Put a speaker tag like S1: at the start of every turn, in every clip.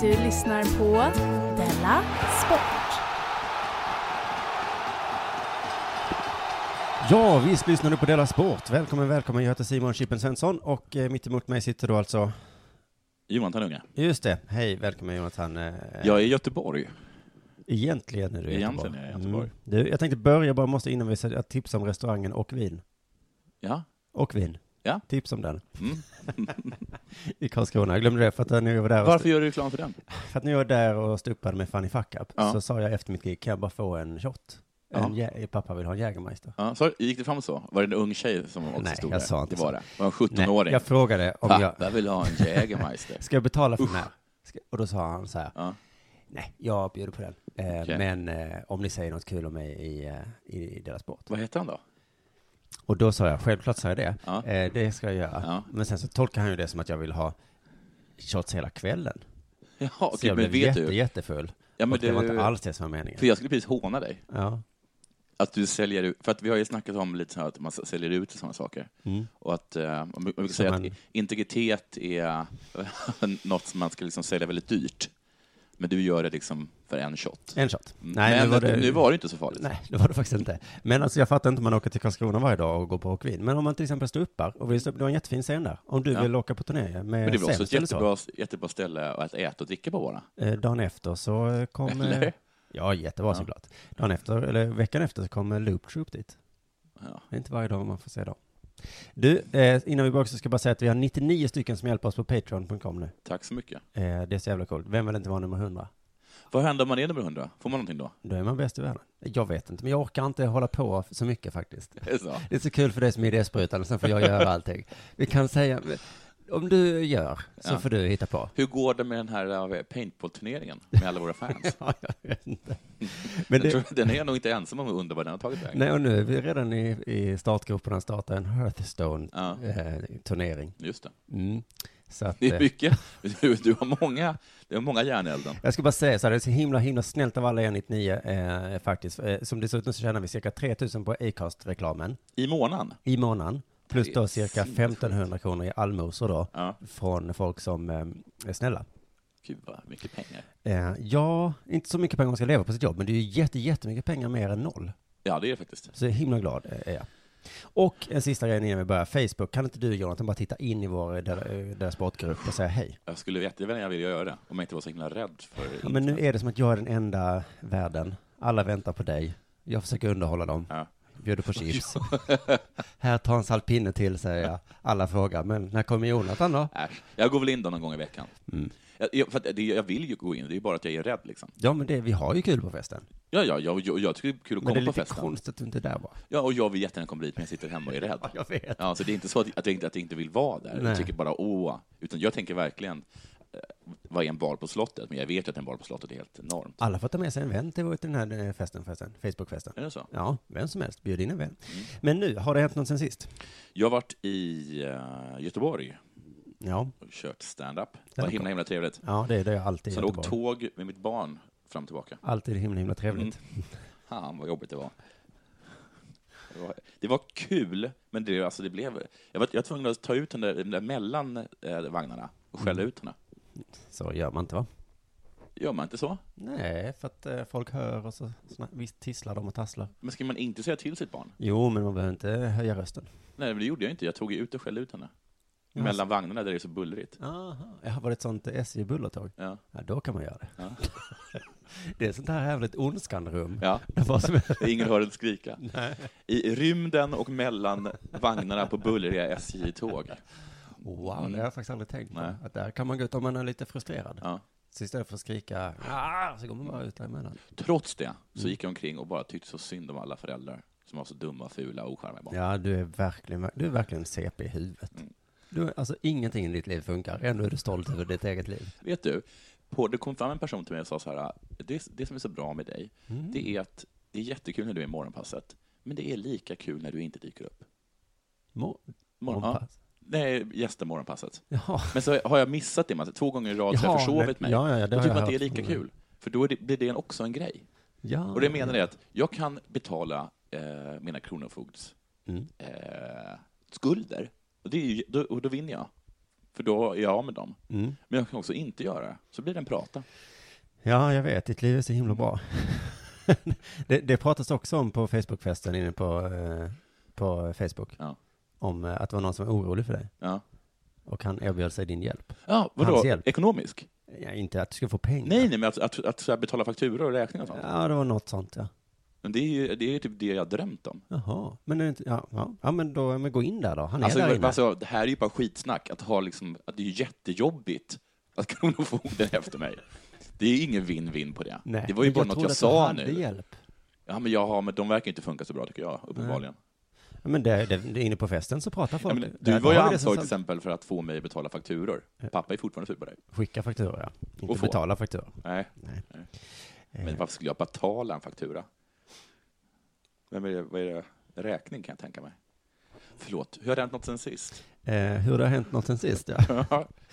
S1: Du lyssnar på Della Sport.
S2: Ja, visst lyssnar du på Della Sport. Välkommen, välkommen. Jag heter Simon Chippen Svensson och eh, mitt emot mig sitter då alltså...
S3: Jonathan Unge.
S2: Just det. Hej, välkommen Jonathan. Eh,
S3: Jag är i Göteborg.
S2: Egentligen är du i
S3: Egentligen
S2: Göteborg.
S3: är jag i Göteborg.
S2: Mm. Du, jag tänkte börja bara, måste innan vi säger att tipsa om restaurangen och vin.
S3: Ja.
S2: Och vin.
S3: Ja.
S2: Tips om den.
S3: Mm.
S2: I Karlskrona. Jag glömde det för att när jag var där och,
S3: Varför gör du reklam för den?
S2: för att när jag var där och stupade med Fanny Fuck Up
S3: Ja.
S2: så sa jag efter mitt gig, kan jag bara få en shot? En jä- eh, pappa vill ha en Jägermeister.
S3: Ja, så gick det fram så? Var det en ung tjej som också
S2: Nej,
S3: stod
S2: jag
S3: där?
S2: sa inte
S3: det var
S2: så.
S3: det. Det var en 17-åring.
S2: jag frågade om jag...
S3: Pappa vill ha en Jägermeister.
S2: Ska jag betala för den här? Ska, och då sa han så här.
S3: Ja.
S2: Nej, jag bjuder på den. Eh,
S3: Okej.
S2: Men eh, om ni säger något kul om mig i, eh, i, i deras sport.
S3: Vad heter han då?
S2: Och då sa jag, självklart sa jag det.
S3: Ja.
S2: Eh, det ska jag göra.
S3: Ja.
S2: Men sen så tolkar han ju det som att jag vill ha shots hela kvällen.
S3: Ja,
S2: så
S3: okej,
S2: jag
S3: men
S2: blev
S3: vet
S2: jätte,
S3: du?
S2: jättefull.
S3: Ja, men
S2: och det
S3: du-
S2: var inte alls det som var meningen.
S3: För jag skulle precis håna dig.
S2: Ja.
S3: Att du säljer ut, för att vi har ju snackat om lite så här att man säljer ut sådana saker.
S2: Mm.
S3: Och att eh, man brukar man brukar säga
S2: man-
S3: att integritet är något som man ska liksom sälja väldigt dyrt. Men du gör det liksom för en shot.
S2: En shot.
S3: Mm.
S2: Nej,
S3: men
S2: nu var det-
S3: nu var det inte så farligt.
S2: Nej, det var det faktiskt inte. Men alltså jag fattar inte om man åker till Karlskrona varje dag och går på rockvin. Men om man till exempel står uppar och vill stå upp, det var en jättefin scen där. Om du
S3: Ja.
S2: vill åka på turné med
S3: Men det är väl också ett
S2: Sämst eller så.
S3: jättebra, jättebra ställe att äta och dricka på bara?
S2: Eh, dagen efter så eh, kom... eh,
S3: Eller?
S2: Ja, jättebra såklart. Dagen efter, eller veckan efter så kom eh, Loop Troop dit.
S3: Ja.
S2: Det är inte varje dag man får se dem. Du, eh, innan vi börjar också ska jag bara säga att vi har 99 stycken som hjälper oss på Patreon.com nu.
S3: Tack så mycket.
S2: Eh, det är så jävla coolt. Vem vill inte vara nummer 100?
S3: Vad händer om man är nummer 100? Får man någonting då?
S2: Då är man bäst i världen. Jag vet inte, men jag orkar inte hålla på så mycket faktiskt.
S3: Är det så?
S2: Det är så kul för dig som är idésprutan, sen får jag göra allting. Vi kan säga, om du gör, så
S3: Ja.
S2: får du hitta på.
S3: Hur går det med den här eh, paintball-turneringen med alla våra fans?
S2: Ja, jag vet inte. Men
S3: Jag
S2: det,
S3: tror, den är nog inte ensam om att undra vad den har tagit vägen.
S2: Nej, och nu är vi redan i, i startgroparna startar en eh,
S3: Ja.
S2: Hearthstone-turnering.
S3: Just det.
S2: Mm. Så att,
S3: Det är
S2: eh,
S3: mycket. Du, du har många, du har många järnelden.
S2: jag ska bara säga så här, det är så himla, himla snällt av alla er 99 eh, faktiskt. Eh, som dessutom så tjänar vi cirka 3000 på Acast-reklamen
S3: I månaden?
S2: i månaden. Plus
S3: Det
S2: då
S3: är
S2: cirka
S3: sinnessjukt.
S2: 1500 kronor i allmosor då,
S3: Ja.
S2: från folk som eh, är snälla.
S3: Gud, vad mycket pengar.
S2: Eh, ja, inte så mycket pengar man ska leva på sitt jobb, men det är ju jätte, jättemycket pengar mer än noll.
S3: Ja, det är det faktiskt.
S2: Så himla glad eh, är jag. Och en sista grej innan vi börjar, Facebook, kan inte du Jonathan bara titta in i vår eh, där- eh, deras sportgrupp och säga hej?
S3: Jag skulle jättegärna vilja göra det, om jag inte var så himla rädd för
S2: Ja, men nu är det som att jag är den enda världen, alla väntar på dig, jag försöker underhålla dem,
S3: Ja.
S2: bjuder på chips. Här tar en salpinne till säger jag, alla frågar, men när kommer Jonathan då?
S3: Äsch. Jag går väl in då någon gång i veckan.
S2: Mm.
S3: Jag, jag, för att det, jag vill ju gå in, det är ju bara att jag är rädd liksom.
S2: Ja men det, vi har ju kul på festen.
S3: Ja, ja, jag, jag, jag tycker det är kul att
S2: Men
S3: komma
S2: det är
S3: på
S2: lite
S3: festen.
S2: konstigt att du inte är där bara.
S3: Ja, och jag vill jättegärna komma dit, men jag sitter hemma och är rädd.
S2: Jag vet.
S3: Ja, så det är inte så att att jag inte, att jag inte vill vara där.
S2: Nej.
S3: Jag tycker bara åh. Utan jag tänker verkligen, eh, vad är en bar på slottet? Men jag vet att en bar på slottet är helt enormt.
S2: Alla får ta med sig en vän till till den här eh, festen förresten, Facebookfesten.
S3: Är det så?
S2: Ja, vem som helst, bjud in en vän.
S3: Mm.
S2: Men nu, har det hänt något sen sist?
S3: Jag har varit i eh, Göteborg
S2: Ja,
S3: och kört stand-up. Det var
S2: Stand-up.
S3: himla, himla trevligt.
S2: ja det är det jag alltid
S3: Sen
S2: i
S3: åkte
S2: Göteborg.
S3: tåg med mitt barn fram och tillbaka.
S2: Alltid himla, himla
S3: Mm.
S2: trevligt.
S3: Han vad jobbigt det var. Det var, det var kul, men det, alltså, det blev... Jag var, jag var tvungen att ta ut den där, den där mellan eh, vagnarna. och skälla
S2: Mm.
S3: ut henne.
S2: Så gör man inte va?
S3: Gör man inte så?
S2: Nej, för att eh, folk hör och så såna, visst tisslar de och tasslar.
S3: Men ska man inte säga till sitt barn?
S2: Jo, men man behöver inte höja rösten.
S3: Nej, men det gjorde jag inte. Jag tog ju ut och skällde ut henne. Mellan vagnarna där det är så bullrigt.
S2: Aha. Jag har varit ett sånt SJ-bullertåg.
S3: Ja.
S2: Ja, då kan man göra det.
S3: Ja.
S2: Det är sånt här jävligt ondskan-rum.
S3: Ja.
S2: Där vad som helst-
S3: Ingen hör den skrika. I rymden och mellan vagnarna på bullriga SJ-tåg.
S2: Wow, det har jag faktiskt aldrig tänkt på.
S3: Nej.
S2: Att där kan man gå ut om man är lite frustrerad.
S3: Ja.
S2: Så istället för att skrika "Ah!" så går man bara ut däremellan.
S3: Trots det så gick jag omkring och bara tyckte så synd om alla föräldrar som var så dumma, fula och ocharmiga barn.
S2: Ja, du är verkligen, du är verkligen CP i huvudet. Du, alltså ingenting i ditt liv funkar, ändå är du stolt över ditt eget liv.
S3: Vet du, på, det kom fram en person till mig och sa så här, det, det som är så bra med dig, det är att det är jättekul när du är i morgonpasset, men det är lika kul när du inte dyker upp.
S2: Må-
S3: Morgon-
S2: Morgonpass.
S3: Ja, nej, gäster morgonpasset.
S2: Jaha.
S3: Men så har jag missat det massa, två gånger i rad så har
S2: Jaha,
S3: jag försovit
S2: men-
S3: mig.
S2: ja, ja, ja, det
S3: Då
S2: har
S3: tycker
S2: jag
S3: man att det är
S2: hört.
S3: lika kul, för då är det, blir det också en grej.
S2: Ja.
S3: Och det menar jag att jag kan betala eh, mina kronofogds
S2: Mm.
S3: eh, skulder, och, det är ju, då, och då vinner jag. För då är jag av med dem.
S2: Mm.
S3: Men jag kan också inte göra det, så blir det en prata.
S2: Ja, jag vet. Ditt liv är så himla bra. det, det pratas också om på Facebookfesten inne på, eh, på Facebook.
S3: Ja.
S2: Om eh, att det var någon som var orolig för dig.
S3: Ja.
S2: Och han erbjöd sig din hjälp.
S3: Ja, vadå?
S2: Hans hjälp.
S3: Ekonomisk?
S2: Ja, inte att du skulle få pengar.
S3: Nej, nej, men att, att, att så här betala fakturor och räkningar och sånt.
S2: Ja, det var något sånt, ja.
S3: Men det är ju det är ju typ det jag drömt om.
S2: Jaha. Men, är det inte, ja, ja. ja, men då, men gå in där då. Han är
S3: Alltså,
S2: där inne.
S3: alltså, det här är ju bara skitsnack, att, ha liksom, att det är ju jättejobbigt att Kronofogden är efter mig. Det är ju ingen vin-vin på det.
S2: Nej,
S3: det var ju
S2: men
S3: bara något
S2: trodde
S3: jag
S2: att
S3: sa
S2: du hade
S3: nu.
S2: hjälp.
S3: Ja, men, ja, men de verkar inte funka så bra tycker jag, uppenbarligen.
S2: Ja, men det, det, det, är inne på festen så pratar folk.
S3: Ja, men,
S2: Där
S3: du var ju
S2: har vi det som
S3: ansvarig till
S2: sagt.
S3: exempel för att få mig att betala fakturor. Pappa är fortfarande sur på dig.
S2: Skicka fakturor, ja. Inte
S3: Och få.
S2: betala fakturor.
S3: Nej.
S2: Nej.
S3: Nej. Men varför skulle jag betala en faktura? Vem är det, vad är det? Räkning kan jag tänka mig. Förlåt, hur har det hänt något sen sist?
S2: Eh, hur det har hänt något sen sist, ja.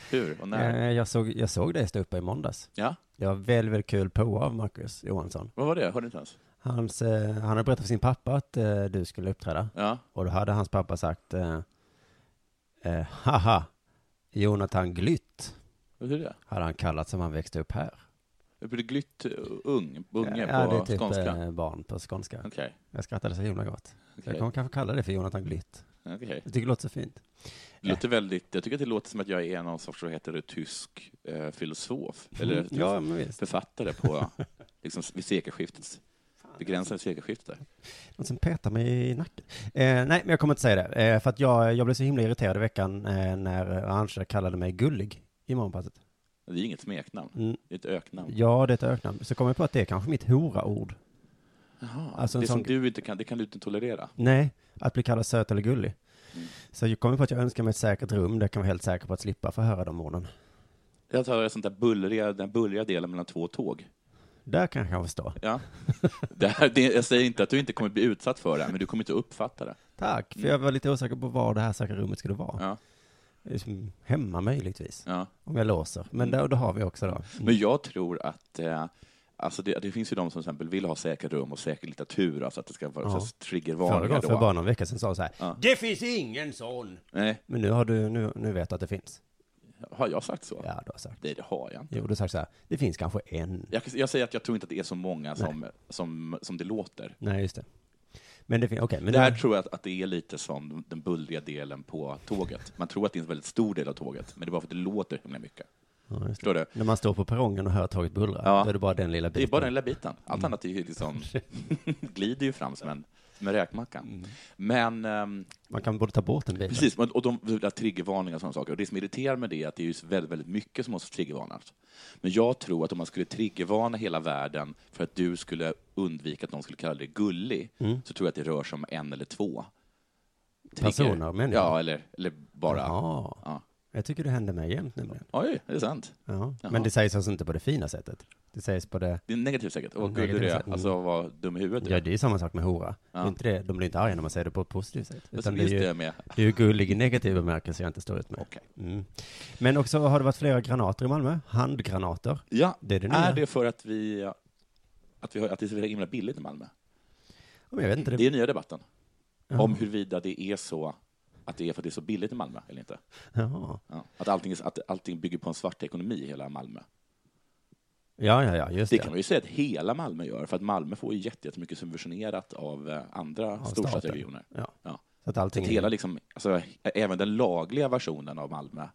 S3: hur och när?
S2: Eh, jag, såg, jag såg dig stå uppe i måndags.
S3: Ja,
S2: Det var väldigt, väldigt kul på av Marcus Johansson.
S3: vad var det? Hörde inte ens?
S2: Hans, eh, han hade berättat för sin pappa att eh, du skulle uppträda.
S3: Ja.
S2: Och då hade hans pappa sagt, eh, eh, haha, Jonathan Glytt
S3: Hur är det?
S2: hade han kallat som han växte upp här.
S3: Jag blir glytt eh, ung, unge
S2: ja,
S3: på
S2: det är typ
S3: skånska.
S2: eh, barn på skånska.
S3: Okej,
S2: Jag skrattade så himla gott. Så
S3: Okej.
S2: jag kommer kanske kalla det för Jonathan Glytt.
S3: okej.
S2: Jag tycker det låter så fint.
S3: Det låter väldigt, jag tycker att det låter som att jag är någon sorts, vad heter det, tysk eh, filosof, eller
S2: Mm,
S3: typ
S2: Ja, men visst.
S3: författare på, liksom vid sekelskiftets, vid gränsen till sekelskiftet där.
S2: Någon som petar Alltså, mig i nacken. Eh, nej, men jag kommer inte säga det. Eh, för att jag, jag blev så himla irriterad i veckan eh, när Arantxa kallade mig gullig i morgonpasset.
S3: Det är inget smeknamn,
S2: Mm.
S3: det är ett öknamn.
S2: Ja, det är ett öknamn. Så kom jag på att det är kanske mitt hora-ord.
S3: Jaha,
S2: Alltså en
S3: det
S2: sån-
S3: som du inte kan, det kan du inte tolerera.
S2: Nej, att bli kallad söt eller gullig. Så jag kom jag på att jag önskar mig ett säkert rum där jag kan vara helt säker på att slippa få höra de orden.
S3: Jag tar sånt där bullriga, den bullriga delen mellan två tåg.
S2: Där kan jag kanske stå.
S3: Ja. Det här, det, jag säger inte att du inte kommer bli utsatt för det, men du kommer inte uppfatta det.
S2: Tack, för jag var lite osäker på var det här säkra rummet skulle vara.
S3: Ja,
S2: Liksom Hemma möjligtvis,
S3: ja.
S2: om jag låser. Men då, då har vi också då.
S3: Men jag tror att eh, Alltså det, det finns ju de som till exempel vill ha säkra rum och säker litteratur, alltså att det ska vara
S2: Ja.
S3: ja.
S2: Förra
S3: triggervarningar
S2: gången, för
S3: då.
S2: bara någon vecka sedan, sa hon så här.
S3: Ja.
S2: Det finns ingen sån!
S3: Nej,
S2: Men nu, har du, nu, nu vet du att det finns.
S3: har jag sagt så?
S2: Ja, du har sagt.
S3: Nej, det har jag inte.
S2: Jo, du har sagt så här. Det finns kanske en.
S3: Jag, jag säger att jag tror inte att det är så många som, som, som det låter.
S2: Nej, just det. Men det finns, okej. men
S3: Det här
S2: det-
S3: tror jag att, att det är lite som den bullriga delen på tåget. Man tror att det är en väldigt stor del av tåget, men det är bara för att det låter himla mycket.
S2: Ja, just det.
S3: Förstår du?
S2: När man står på perrongen och hör tåget bullra,
S3: Ja.
S2: då är det bara den lilla
S3: Det
S2: biten.
S3: är bara den lilla biten.
S2: Mm.
S3: Allt annat är ju liksom, glider ju fram som en, som en räkmacka.
S2: Mm.
S3: Men ehm,
S2: Man kan både ta bort den biten.
S3: precis, och de de där triggervarningar och sådana saker. Och det som irriterar med det är att det är ju så väldigt, väldigt mycket som måste triggervarnas. Men jag tror att om man skulle triggervarna hela världen för att du skulle undvika att någon skulle kalla dig gullig,
S2: Mm.
S3: så tror jag att det rör sig om en eller två. Trigger.
S2: Personer, människor?
S3: Ja, eller, eller bara...
S2: Ja.
S3: Ja.
S2: Jag tycker det händer mig jämt nämligen.
S3: Oj, det är sant.
S2: Ja.
S3: Jaha.
S2: Men det sägs alltså inte på det fina sättet. Det sägs på det...
S3: Det är negativt säkert. Och gullig
S2: Negativt
S3: du
S2: säkert.
S3: är. Alltså, vad dum i huvudet du
S2: Ja,
S3: är.
S2: det är ju samma sak med hora. Det är
S3: Ja.
S2: Inte det, de blir inte arga när man säger det på ett positivt sätt.
S3: Men
S2: Utan det är
S3: just det
S2: ju,
S3: med...
S2: det är ju gullig i negativ bemärkelse jag inte står ut med.
S3: Okej.
S2: Mm. Men också har det varit flera granater i Malmö. Handgranater.
S3: Ja,
S2: Det är
S3: är
S2: det
S3: det,
S2: nya.
S3: för att vi, att vi har, att det är så himla billigt i Malmö?
S2: Ja, Men jag vet inte,
S3: Det är
S2: det...
S3: den nya debatten. Om huruvida det är så Att det är för att det är så billigt i Malmö, eller inte?
S2: Jaha.
S3: Ja. Att, allting, är- att allting bygger på en svart ekonomi i hela Malmö.
S2: Ja, ja, ja, just
S3: Det
S2: det.
S3: kan man ju säga att hela Malmö gör, för att Malmö får ju jätte- jättemycket subventionerat av eh, andra
S2: staten.
S3: storstadsregioner.
S2: Ja.
S3: Ja.
S2: Så att
S3: Så
S2: allting
S3: att hela,
S2: är,
S3: liksom, alltså, ä- även den lagliga versionen av Malmö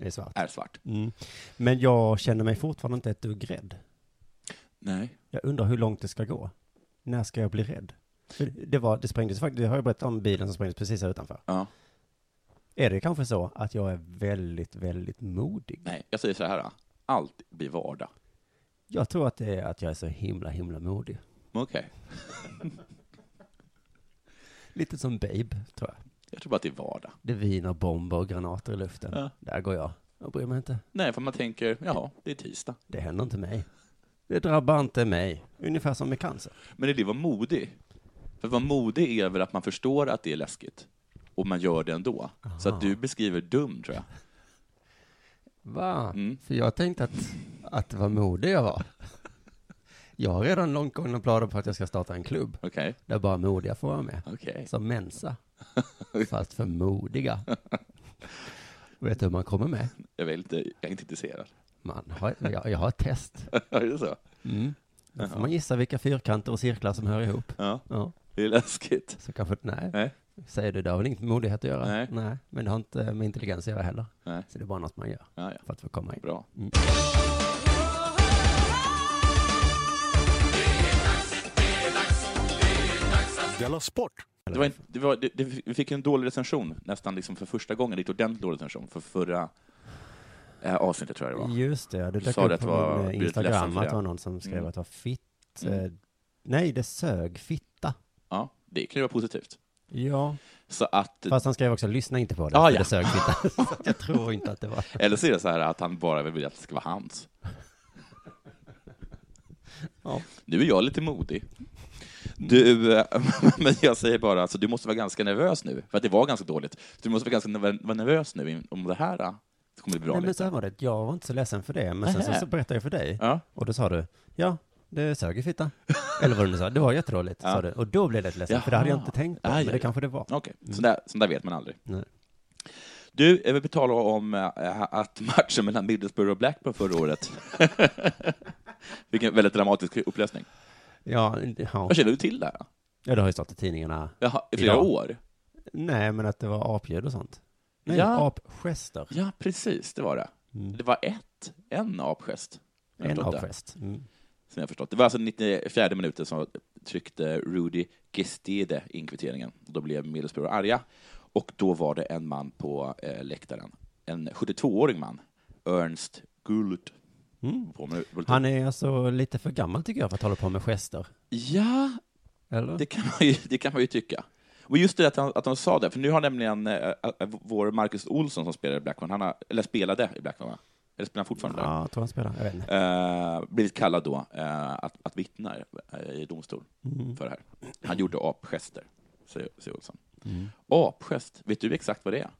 S2: är svart.
S3: är svart.
S2: Mm. Men jag känner mig fortfarande inte ett dugg rädd.
S3: Nej.
S2: Jag undrar hur långt det ska gå. När ska jag bli rädd? För Det, var, det sprängdes faktiskt, det har jag berättat om bilen som sprängdes precis här utanför.
S3: Ja.
S2: Är det kanske så att jag är väldigt, väldigt modig?
S3: Nej, jag säger så här. Allt blir vardag.
S2: Jag tror att det är att jag är så himla, himla modig.
S3: Men Okej.
S2: Lite som Babe, tror jag.
S3: Jag tror bara att det är vardag.
S2: Det viner bomber och granater i luften.
S3: Ja.
S2: Där går jag. Jag bryr mig inte.
S3: Nej, för man tänker, ja, det är tisdag.
S2: Det händer inte mig. Det drabbar inte mig. Ungefär som med cancer.
S3: Men är det var modig? För vad modig är väl att man förstår att det är läskigt och man gör det ändå. Så att du beskriver dum, tror jag.
S2: Va?
S3: Mm.
S2: För jag tänkte att, att vad modig jag var. Jag har redan långt gångna planer på att jag ska starta en klubb
S3: Okej.
S2: där bara modiga får vara med.
S3: Okej.
S2: Som Mensa. Fast för modiga. Vet du hur man kommer med?
S3: Jag, är inte, jag är inte intresserad.
S2: Man har, jag, jag har ett test.
S3: Ja, det är så?
S2: Mm. Då får man gissa vilka fyrkanter och cirklar som hör ihop.
S3: Ja,
S2: Ja,
S3: det är läskigt.
S2: så kanske, nej.
S3: Nej.
S2: Säger du, det har väl inget med modighet att göra?
S3: Nej.
S2: Men det har inte med intelligens att göra heller.
S3: Nej.
S2: Så det är bara något man gör
S3: Ja, ja.
S2: för att få komma in.
S3: Bra.
S4: Della Sport!
S3: Det var en, det var, det, det, vi fick en dålig recension, nästan liksom för första gången. Riktigt ordentligt dålig recension, för förra eh, avsnittet tror jag det var.
S2: Just det, ja, det
S3: Du
S2: dök
S3: sa det
S2: upp
S3: att
S2: på
S3: det var-
S2: min
S3: du är ledsen
S2: Instagram
S3: för
S2: att
S3: det.
S2: det var någon som skrev
S3: Mm.
S2: att det var fitt.
S3: Mm.
S2: eh, Nej, det sög fitta.
S3: Ja, det kan ju vara positivt.
S2: Ja,
S3: Så att,
S2: fast han skrev också lyssna inte på det,
S3: Ah,
S2: för
S3: ja.
S2: det sög fitta. Så att jag tror inte att det var.
S3: eller så är det så här att han bara vill att det ska vara hans.
S2: Ja.
S3: Nu är jag lite modig. Du, eh, men jag säger bara, alltså, du måste vara ganska nervös nu, för att det var ganska dåligt. Du måste vara ganska nerv- vara nervös nu in- om det här eh, kommer bli bra.
S2: Nej, men
S3: nytt.
S2: så här var det, liksom. jag var inte så ledsen för det, men sen så,
S3: Nähä.
S2: så berättade jag för dig,
S3: Ja,
S2: och då sa du, ja, det sög i fitta. Eller vad du nu sa, det var jättedåligt,
S3: Ja.
S2: sa du. Och då blev jag lite ledsen, för det hade jag
S3: Jaha.
S2: inte tänkt på,
S3: Ah,
S2: men
S3: ja,
S2: det
S3: ja.
S2: kanske det var.
S3: okej. Sånt där, sånt där vet man aldrig.
S2: Mm. Nej.
S3: Du, jag vill betala om eh, att matchen mellan Middlesbrough och Blackburn förra året fick en väldigt dramatisk upplösning.
S2: Ja, ja.
S3: Vad känner du till där?
S2: ja, det har ju stått i tidningarna.
S3: Jaha, i flera
S2: Idag.
S3: år?
S2: Nej, men att det var apljud och sånt. Nej,
S3: Ja.
S2: apgester.
S3: Ja, precis, det var det.
S2: Mm.
S3: Det var ett, en apgest. Jag har
S2: En
S3: förstått det,
S2: apgest. Mm.
S3: Som jag förstått. Det var alltså 94 minuten som tryckte Rudy Gestede in kvitteringen. Då blev Middlesbrough arga. Och då var det en man på eh, läktaren, en 72-årig man, Ernst Gullit.
S2: Mm.
S3: På med-
S2: Han är alltså lite för gammal tycker jag för att hålla på med gester.
S3: Ja,
S2: Eller?
S3: Det kan man ju, det kan man ju tycka. Och just det att han, att han sa det, för nu har nämligen eh, eh, vår Marcus Olsson som spelade i Blackburn, han har, eller spelade i Blackburn, va? eller spelar han fortfarande där?
S2: Ja, jag tror han spelar. Jag vet inte.
S3: Eh, blivit kallad då eh, att, att vittna eh, i domstol
S2: Mm.
S3: för det här. Han gjorde apgester, säger, säger Olsson.
S2: Mm.
S3: Apgest, vet du exakt vad det är?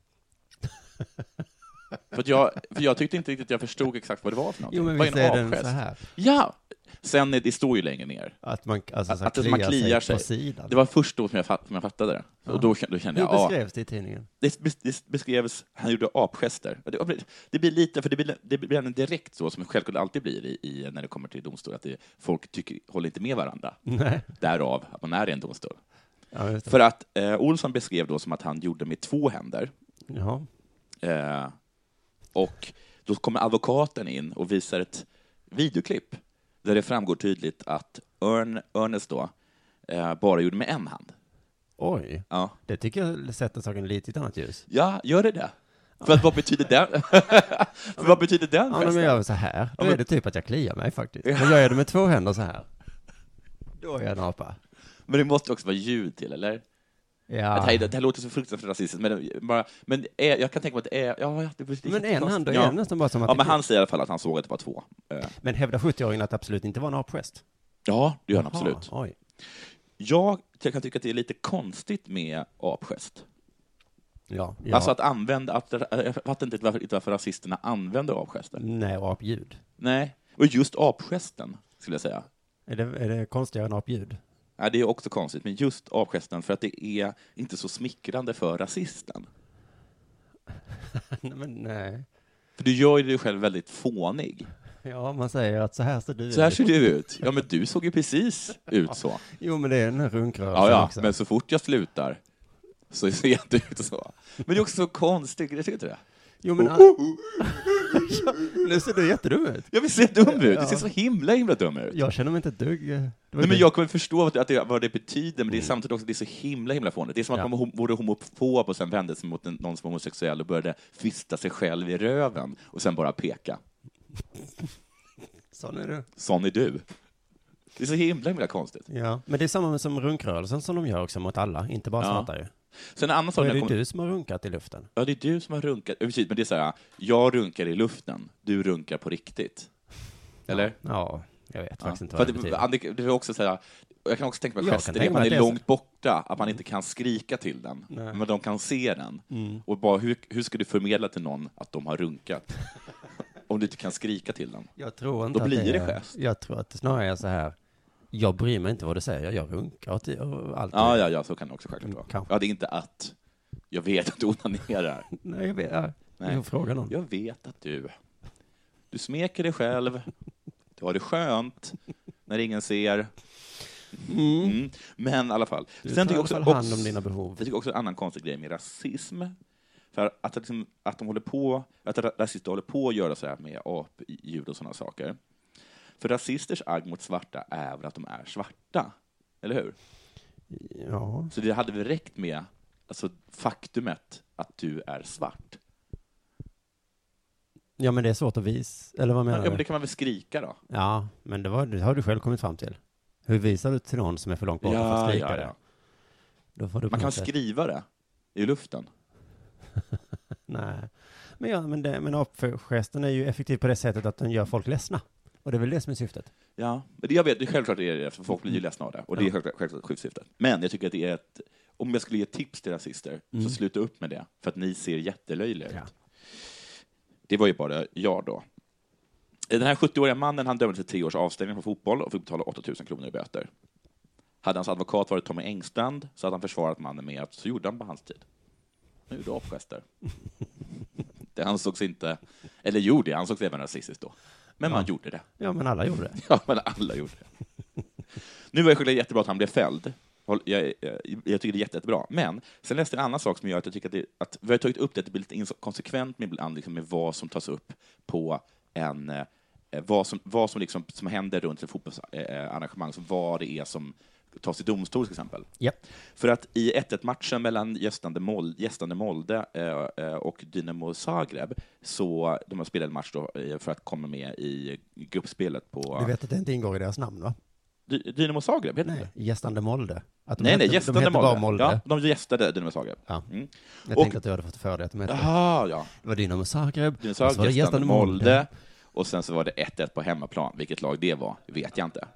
S3: för, att jag, för jag tyckte inte riktigt att jag förstod exakt vad det var för någonting.
S2: Jo, men
S3: vad
S2: visst är den så här?
S3: Ja! Sen, är- det står ju längre ner.
S2: Att man, alltså, så här,
S3: Att, att man kliar sig.
S2: på sidan.
S3: Det var först då som jag, fatt, som jag fattade det. Och då, kände- då kände jag,
S2: Hur
S3: ja,
S2: beskrevs det i tidningen?
S3: det, bes- det beskrevs, han gjorde apgester. Och Det, det blir lite, för det blir, det blir en direkt så som självklart alltid blir i, i, när det kommer till domstol, att det, folk tycker, håller inte med varandra.
S2: Nej.
S3: Därav att man är i en domstol.
S2: Ja, just det.
S3: För att eh, Olsson beskrev då som att han gjorde med två händer,
S2: Jaha.
S3: eh, och då kommer advokaten in och visar ett videoklipp där det framgår tydligt att Ern, Ernest då eh, bara gjorde med en hand.
S2: Oj.
S3: Ja.
S2: Det tycker jag sätter saken lite i ett annat ljus.
S3: Ja, gör det det? För att vad betyder den? för vad betyder den
S2: Ja, men om
S3: gesten?
S2: jag gör så här, då
S3: men-
S2: är det typ att jag kliar mig faktiskt. Men gör jag det med två händer så här, då är jag en apa.
S3: Men det måste också vara ljud till, eller? Det,
S2: Ja.
S3: här, det här låter så fruktansvärt rasistiskt, men, det- bara, men är, jag kan tänka mig att det är... Ja, ja, det blir lite
S2: Men en
S3: konstigt.
S2: hand, då är
S3: ja.
S2: det nästan bara som att...
S3: Ja, men han säger i alla fall att han såg att det var två. Eh,
S2: men hävdar 70-åringen att det absolut inte var en apgest?
S3: Ja, det gör han
S2: Jaha,
S3: absolut.
S2: Oj.
S3: Jag, jag kan tycka att det är lite konstigt med apgest.
S2: Ja. ja.
S3: Alltså att använda... Att, jag fattar inte varför, varför rasisterna använder apgester.
S2: Nej, och apljud.
S3: Nej, och just apgesten, skulle jag säga.
S2: Är det, är det konstigare än apljud?
S3: Ja, det är också konstigt, men just avgesten för att det är inte så smickrande för rasisten.
S2: nej, men nej.
S3: För du gör ju dig själv väldigt fånig.
S2: Ja, man säger att så här ser du
S3: Så här
S2: ut.
S3: ser du ut. Ja, men du såg ju precis ut så.
S2: Jo, men det är den här runkrörelsen
S3: Ja, ja,
S2: också.
S3: men så fort jag slutar så ser jag inte ut så. Men det är också så konstigt, jag tycker inte det?
S2: Jo,
S3: Oh,
S2: men Ja, nu ser du jättedum ut.
S3: Jag vill se dum ut, det ser
S2: Ja.
S3: så himla, himla dum ut.
S2: Jag känner mig inte ett dugg... eh, det var
S3: Nej, men
S2: det. Mm.
S3: jag kommer förstå vad det- att det, vad det betyder, men det är samtidigt också det är så himla himla fånigt. Det är som att
S2: Ja.
S3: man vore homofob och sen vände sig mot en, någon som var homosexuell och började fista sig själv i röven och sen bara peka.
S2: Sån är du.
S3: Sån är du. Det är så himla himla konstigt.
S2: Ja, men det är samma med som runkrörelsen som de gör också mot alla, inte bara
S3: Ja.
S2: svarta ju.
S3: Sen en annan
S2: Så
S3: sak,
S2: är
S3: när
S2: det
S3: jag
S2: ju
S3: kom...
S2: du som har runkat i luften.
S3: ja det är du som har runkat, Ja, precis, men det är så här, jag runkar i luften, du runkar på riktigt. Eller?
S2: Ja, jag vet faktiskt inte
S3: För
S2: vad
S3: att
S2: det
S3: det,
S2: betyder.
S3: Annika, det är också så här, jag kan också tänka mig
S2: Jag kan
S3: gester, det är
S2: tänka mig
S3: att man
S2: att
S3: är
S2: det är så.
S3: långt borta, att man inte kan skrika till den, men de kan se den.
S2: Mm.
S3: Och bara, hur, hur ska du förmedla till någon att de har runkat? Om du inte kan skrika till den.
S2: Jag tror
S3: Då
S2: inte
S3: blir
S2: att
S3: det
S2: är,
S3: gest.
S2: Jag tror att det snarare är så här, jag bryr mig inte vad du säger, jag runkar åt dig och allt.
S3: Ja, ja, ja, så kan det också självklart vara.
S2: Kanske.
S3: Ja, det är inte att jag vet att du onanerar.
S2: Nej, jag vet. ja.
S3: Nej.
S2: Jag får fråga någon.
S3: Jag vet att du, du smeker dig själv, du har det skönt när ingen ser. Mm. Men i alla fall.
S2: Du tar
S3: tycker
S2: i
S3: jag
S2: alla fall hand om
S3: obs-
S2: dina behov.
S3: Jag tycker också en annan konstig grej med rasism, för att, det liksom, att de håller på, att ra- rasister håller på att göra så här med apljud och sådana saker. För rasisters agg mot svarta är väl att de är svarta, eller hur?
S2: Ja,
S3: Så det hade väl räckt med alltså, faktumet att du är svart.
S2: ja men det är svårt att visa, eller vad menar
S3: Ja, men
S2: du?
S3: det kan man väl skrika då?
S2: Ja, men det, var, det har du själv kommit fram till. Hur visar du till någon som är för långt bort för att skrika det? Då får du på
S3: Man
S2: något
S3: kan väl
S2: sätt-
S3: skriva det i luften?
S2: Nej. Men, ja, men, det, men apgesten är ju effektiv på det sättet att den gör folk ledsna. Och det är väl det som är syftet.
S3: Ja, men det, jag vet, det är självklart är det för folk blir ju ledsna av det. Och det är självklart, självklart skyddssyftet. Men jag tycker att det är ett... Om jag skulle ge tips till rasister, så sluta upp med det, för att ni ser jättelöjliga ut.
S2: Mm. Ja.
S3: Det var ju bara jag då. Den här 70-åriga mannen han dömdes till tre års avstängning från fotboll och fick betala 8 000 kronor i böter. Hade hans advokat varit Tommy Engstrand så hade han försvarat mannen med att så gjorde han på hans tid. Nu då apgester. Det ansågs inte, eller jo, det ansågs även rasistiskt då. Men man gjorde det.
S2: Ja, men alla gjorde det.
S3: Ja, men alla gjorde det. Nu var det jättebra att han blev fälld. Håll- Jag, jag, jag tycker det är jätte, jättebra. Men sen läste jag en annan sak som gör att jag tycker att, det, att vi har tagit upp det, att det blir lite inkonsekvent med ibland liksom med vad som tas upp på en eh, vad som, vad som, liksom, som händer runt ett fotbollsarrangemang, så vad det är som tas i domstol till exempel.
S2: Japp.
S3: För att i 1-1-matchen mellan gästande, Mol, gästande Molde eh, eh, och Dynamo Zagreb, så de har spelat en match då, eh, för att komma med i gruppspelet på...
S2: Du vet att det inte ingår i deras namn, va?
S3: Dy- Dynamo Zagreb heter
S2: Nej.
S3: det?
S2: Gästande Molde. Att de
S3: Nej,
S2: hette-
S3: nej, gästande
S2: de hette
S3: Molde.
S2: bara Molde.
S3: Ja, de gästade Dynamo Zagreb.
S2: Ja.
S3: Mm.
S2: Jag
S3: Och-
S2: tänkte att du hade fått för dig att de hette...
S3: Jaha, ja.
S2: Det var Dynamo Zagreb.
S3: Dynamo
S2: och så var
S3: Zagreb
S2: det
S3: gästande Molde. Och sen så var det 1-1 på hemmaplan. Vilket lag det var vet jag inte.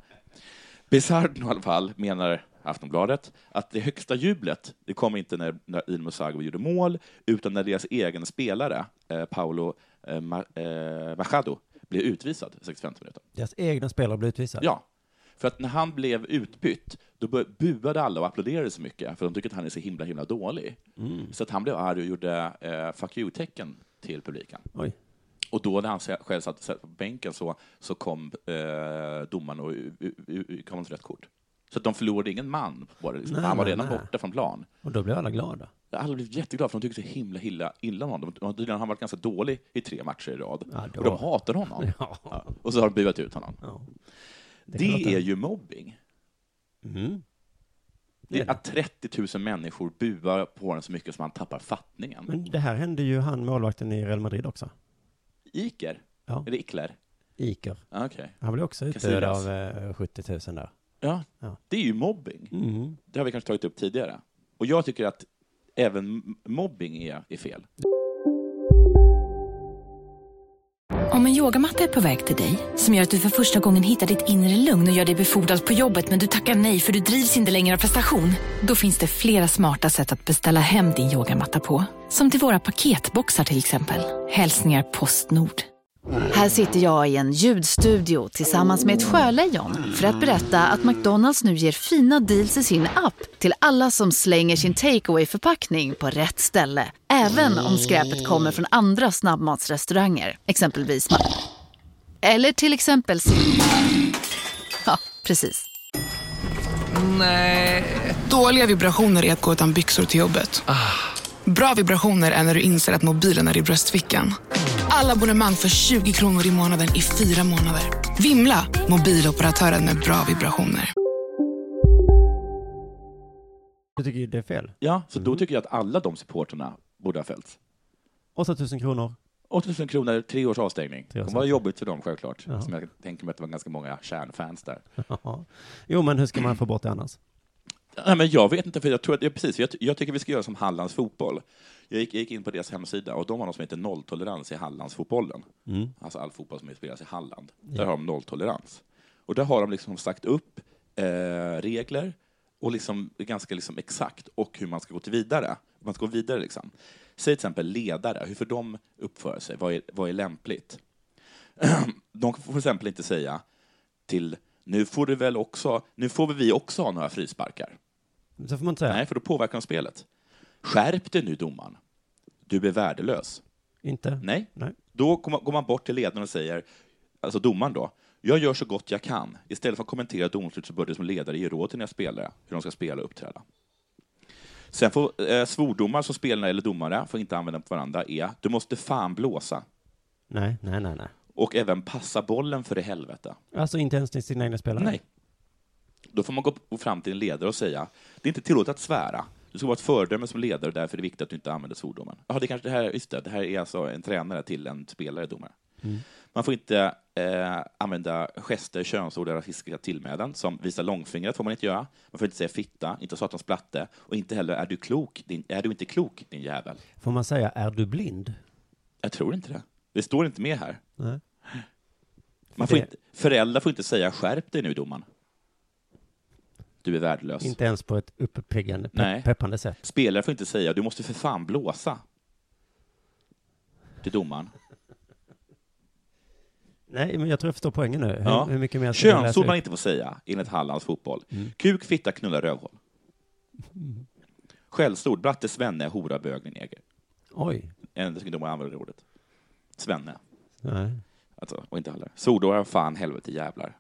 S3: Bizarro i alla fall menar Aftonbladet att det högsta jublet det kom inte när, när Dynamo Zagreb gjorde mål utan när deras egen spelare eh, Paolo eh, Ma, eh, Machado blev utvisad i 65 minuter.
S2: Deras egna spelare blev utvisade.
S3: Ja. För att när han blev utbytt, då bör- buade alla och applåderade så mycket, för de tycker att han är så himla, himla dålig.
S2: Mm.
S3: Så att han blev arg och gjorde eh, fuck you-tecken till publiken.
S2: Oj.
S3: Och då när han se- själv satt, satt på bänken så, så kom eh, domaren och u- u- u- kom ett rött kort. Så att de förlorade ingen man, var det liksom.
S2: Nej,
S3: han var
S2: nej,
S3: redan
S2: nej.
S3: borta från plan.
S2: Och då blev alla glada.
S3: Alla blev jätteglada för de tyckte så himla, himla illa om honom. De- de- Han har varit ganska dålig i tre matcher i rad.
S2: Ja, då-
S3: Och de hatar honom.
S2: Ja.
S3: Och så har de buat ut honom.
S2: Ja.
S3: Det,
S2: kan låta-
S3: är ju mobbing.
S2: Mm.
S3: Det är att 30 000 människor buar på honom så mycket som han tappar fattningen.
S2: Men det här hände ju han målvakten i Real Madrid också.
S3: Iker?
S2: Ja.
S3: Är det Ickler?
S2: Iker.
S3: Ja, Okej.
S2: Han blev också utdöd
S3: Casillas.
S2: av eh, 70 000 där.
S3: Ja.
S2: Ja.
S3: det är ju mobbing.
S2: Mm.
S3: Det har vi kanske tagit upp tidigare. Och jag tycker att även m- mobbing är, är fel.
S5: Om en yogamatta är på väg till dig, som gör att du för första gången hittar ditt inre lugn och gör dig befordrad på jobbet men du tackar nej för du drivs inte längre av prestation. Då finns det flera smarta sätt att beställa hem din yogamatta på. Som till våra paketboxar till exempel. Hälsningar Postnord.
S6: Här sitter jag i en ljudstudio tillsammans med ett sjölejon för att berätta att McDonalds nu ger fina deals i sin app till alla som slänger sin takeaway förpackning på rätt ställe. Även om skräpet kommer från andra snabbmatsrestauranger, exempelvis Ma- Eller till exempel Sim- Ja, precis.
S7: Dåliga vibrationer är att gå utan byxor till jobbet. Bra vibrationer är när du inser att mobilen är i bröstfickan. Alla abonnemang för 20 kronor i månaden i fyra månader. Vimla! Mobiloperatören med bra vibrationer.
S2: Du tycker ju det är fel.
S3: Ja, så
S2: Mm-hmm.
S3: då tycker jag att alla de supporterna borde ha fällts.
S2: 8000 kronor.
S3: 8000 kronor, tre års avstängning.
S2: Tre
S3: Det
S2: års
S3: kommer vara jobbigt för dem självklart.
S2: Ja.
S3: Som jag tänker mig att det var ganska många kärnfans där.
S2: Jaha. Jo, men hur ska man få bort det annars?
S3: Nej, men jag vet inte, för jag tror att, ja, precis, jag, jag tycker vi ska göra som Hallands fotboll. Jag gick, jag gick in på deras hemsida och de har något som heter nolltolerans i Hallandsfotbollen.
S2: Mm.
S3: Alltså all fotboll som spelas i Halland. Där har de nolltolerans. Och där har de liksom sagt upp eh, regler och liksom, ganska liksom exakt och hur man ska gå till vidare. Man ska gå vidare liksom. Säg till exempel ledare, hur får de uppföra sig? Vad är, vad är lämpligt? de får till exempel inte säga till nu får du väl också, nu får väl vi också ha några frisparkar.
S2: Så får man inte säga.
S3: Nej, för då påverkar de spelet. Skärp dig nu domaren. Du är värdelös.
S2: Inte?
S3: Nej.
S2: Nej.
S3: Då kommer- går man bort till ledaren och säger, alltså domaren då, jag gör så gott jag kan. Istället för att kommentera domslut så bör du som ledare ge råd till dina spelare hur de ska spela och uppträda. Sen får eh, svordomar som spelare eller domare får inte använda på varandra är, du måste fan blåsa.
S2: Nej, nej, nej, nej.
S3: Och även passa bollen för i helvete.
S2: Alltså inte ens till sina egna spelare?
S3: Nej. Då får man gå fram till en ledare och säga, det är inte tillåtet att svära. Du ska vara ett föredöme som ledare och därför är det viktigt att du inte använder svordomen. Jaha, det kanske det här, just det, det här är alltså en tränare till en spelare, domare. Man får inte eh, använda gester, könsord och rasistiska tillmälen som visa långfingret får man inte göra. Man får inte säga fitta, inte satans platte och inte heller är du klok, din, är du inte klok din jävel.
S2: Får man säga, är du blind?
S3: Jag tror inte det. Det står inte med här.
S2: Nej.
S3: Man får
S2: Det-
S3: inte, föräldrar får inte säga skärp dig nu domaren. Du är värdelös.
S2: Inte ens på ett uppeggande, pe-
S3: Nej.
S2: peppande sätt?
S3: Spelare får inte säga du måste för fan blåsa. Till domaren.
S2: Nej, men jag tror jag förstår poängen nu. Hur,
S3: Ja.
S2: hur mycket mer ska man läsa
S3: Könsord
S2: ut? Mm.
S3: man inte får säga enligt Hallands fotboll. Kuk, fitta, knulla, rövhål. Skällsord, bratte, svenne, hora, bög, din neger.
S2: Oj.
S3: Ändå tycker domaren använder det ordet. Svenne.
S2: Nej.
S3: Alltså, och inte heller. Svordomar, fan, helvete, jävlar.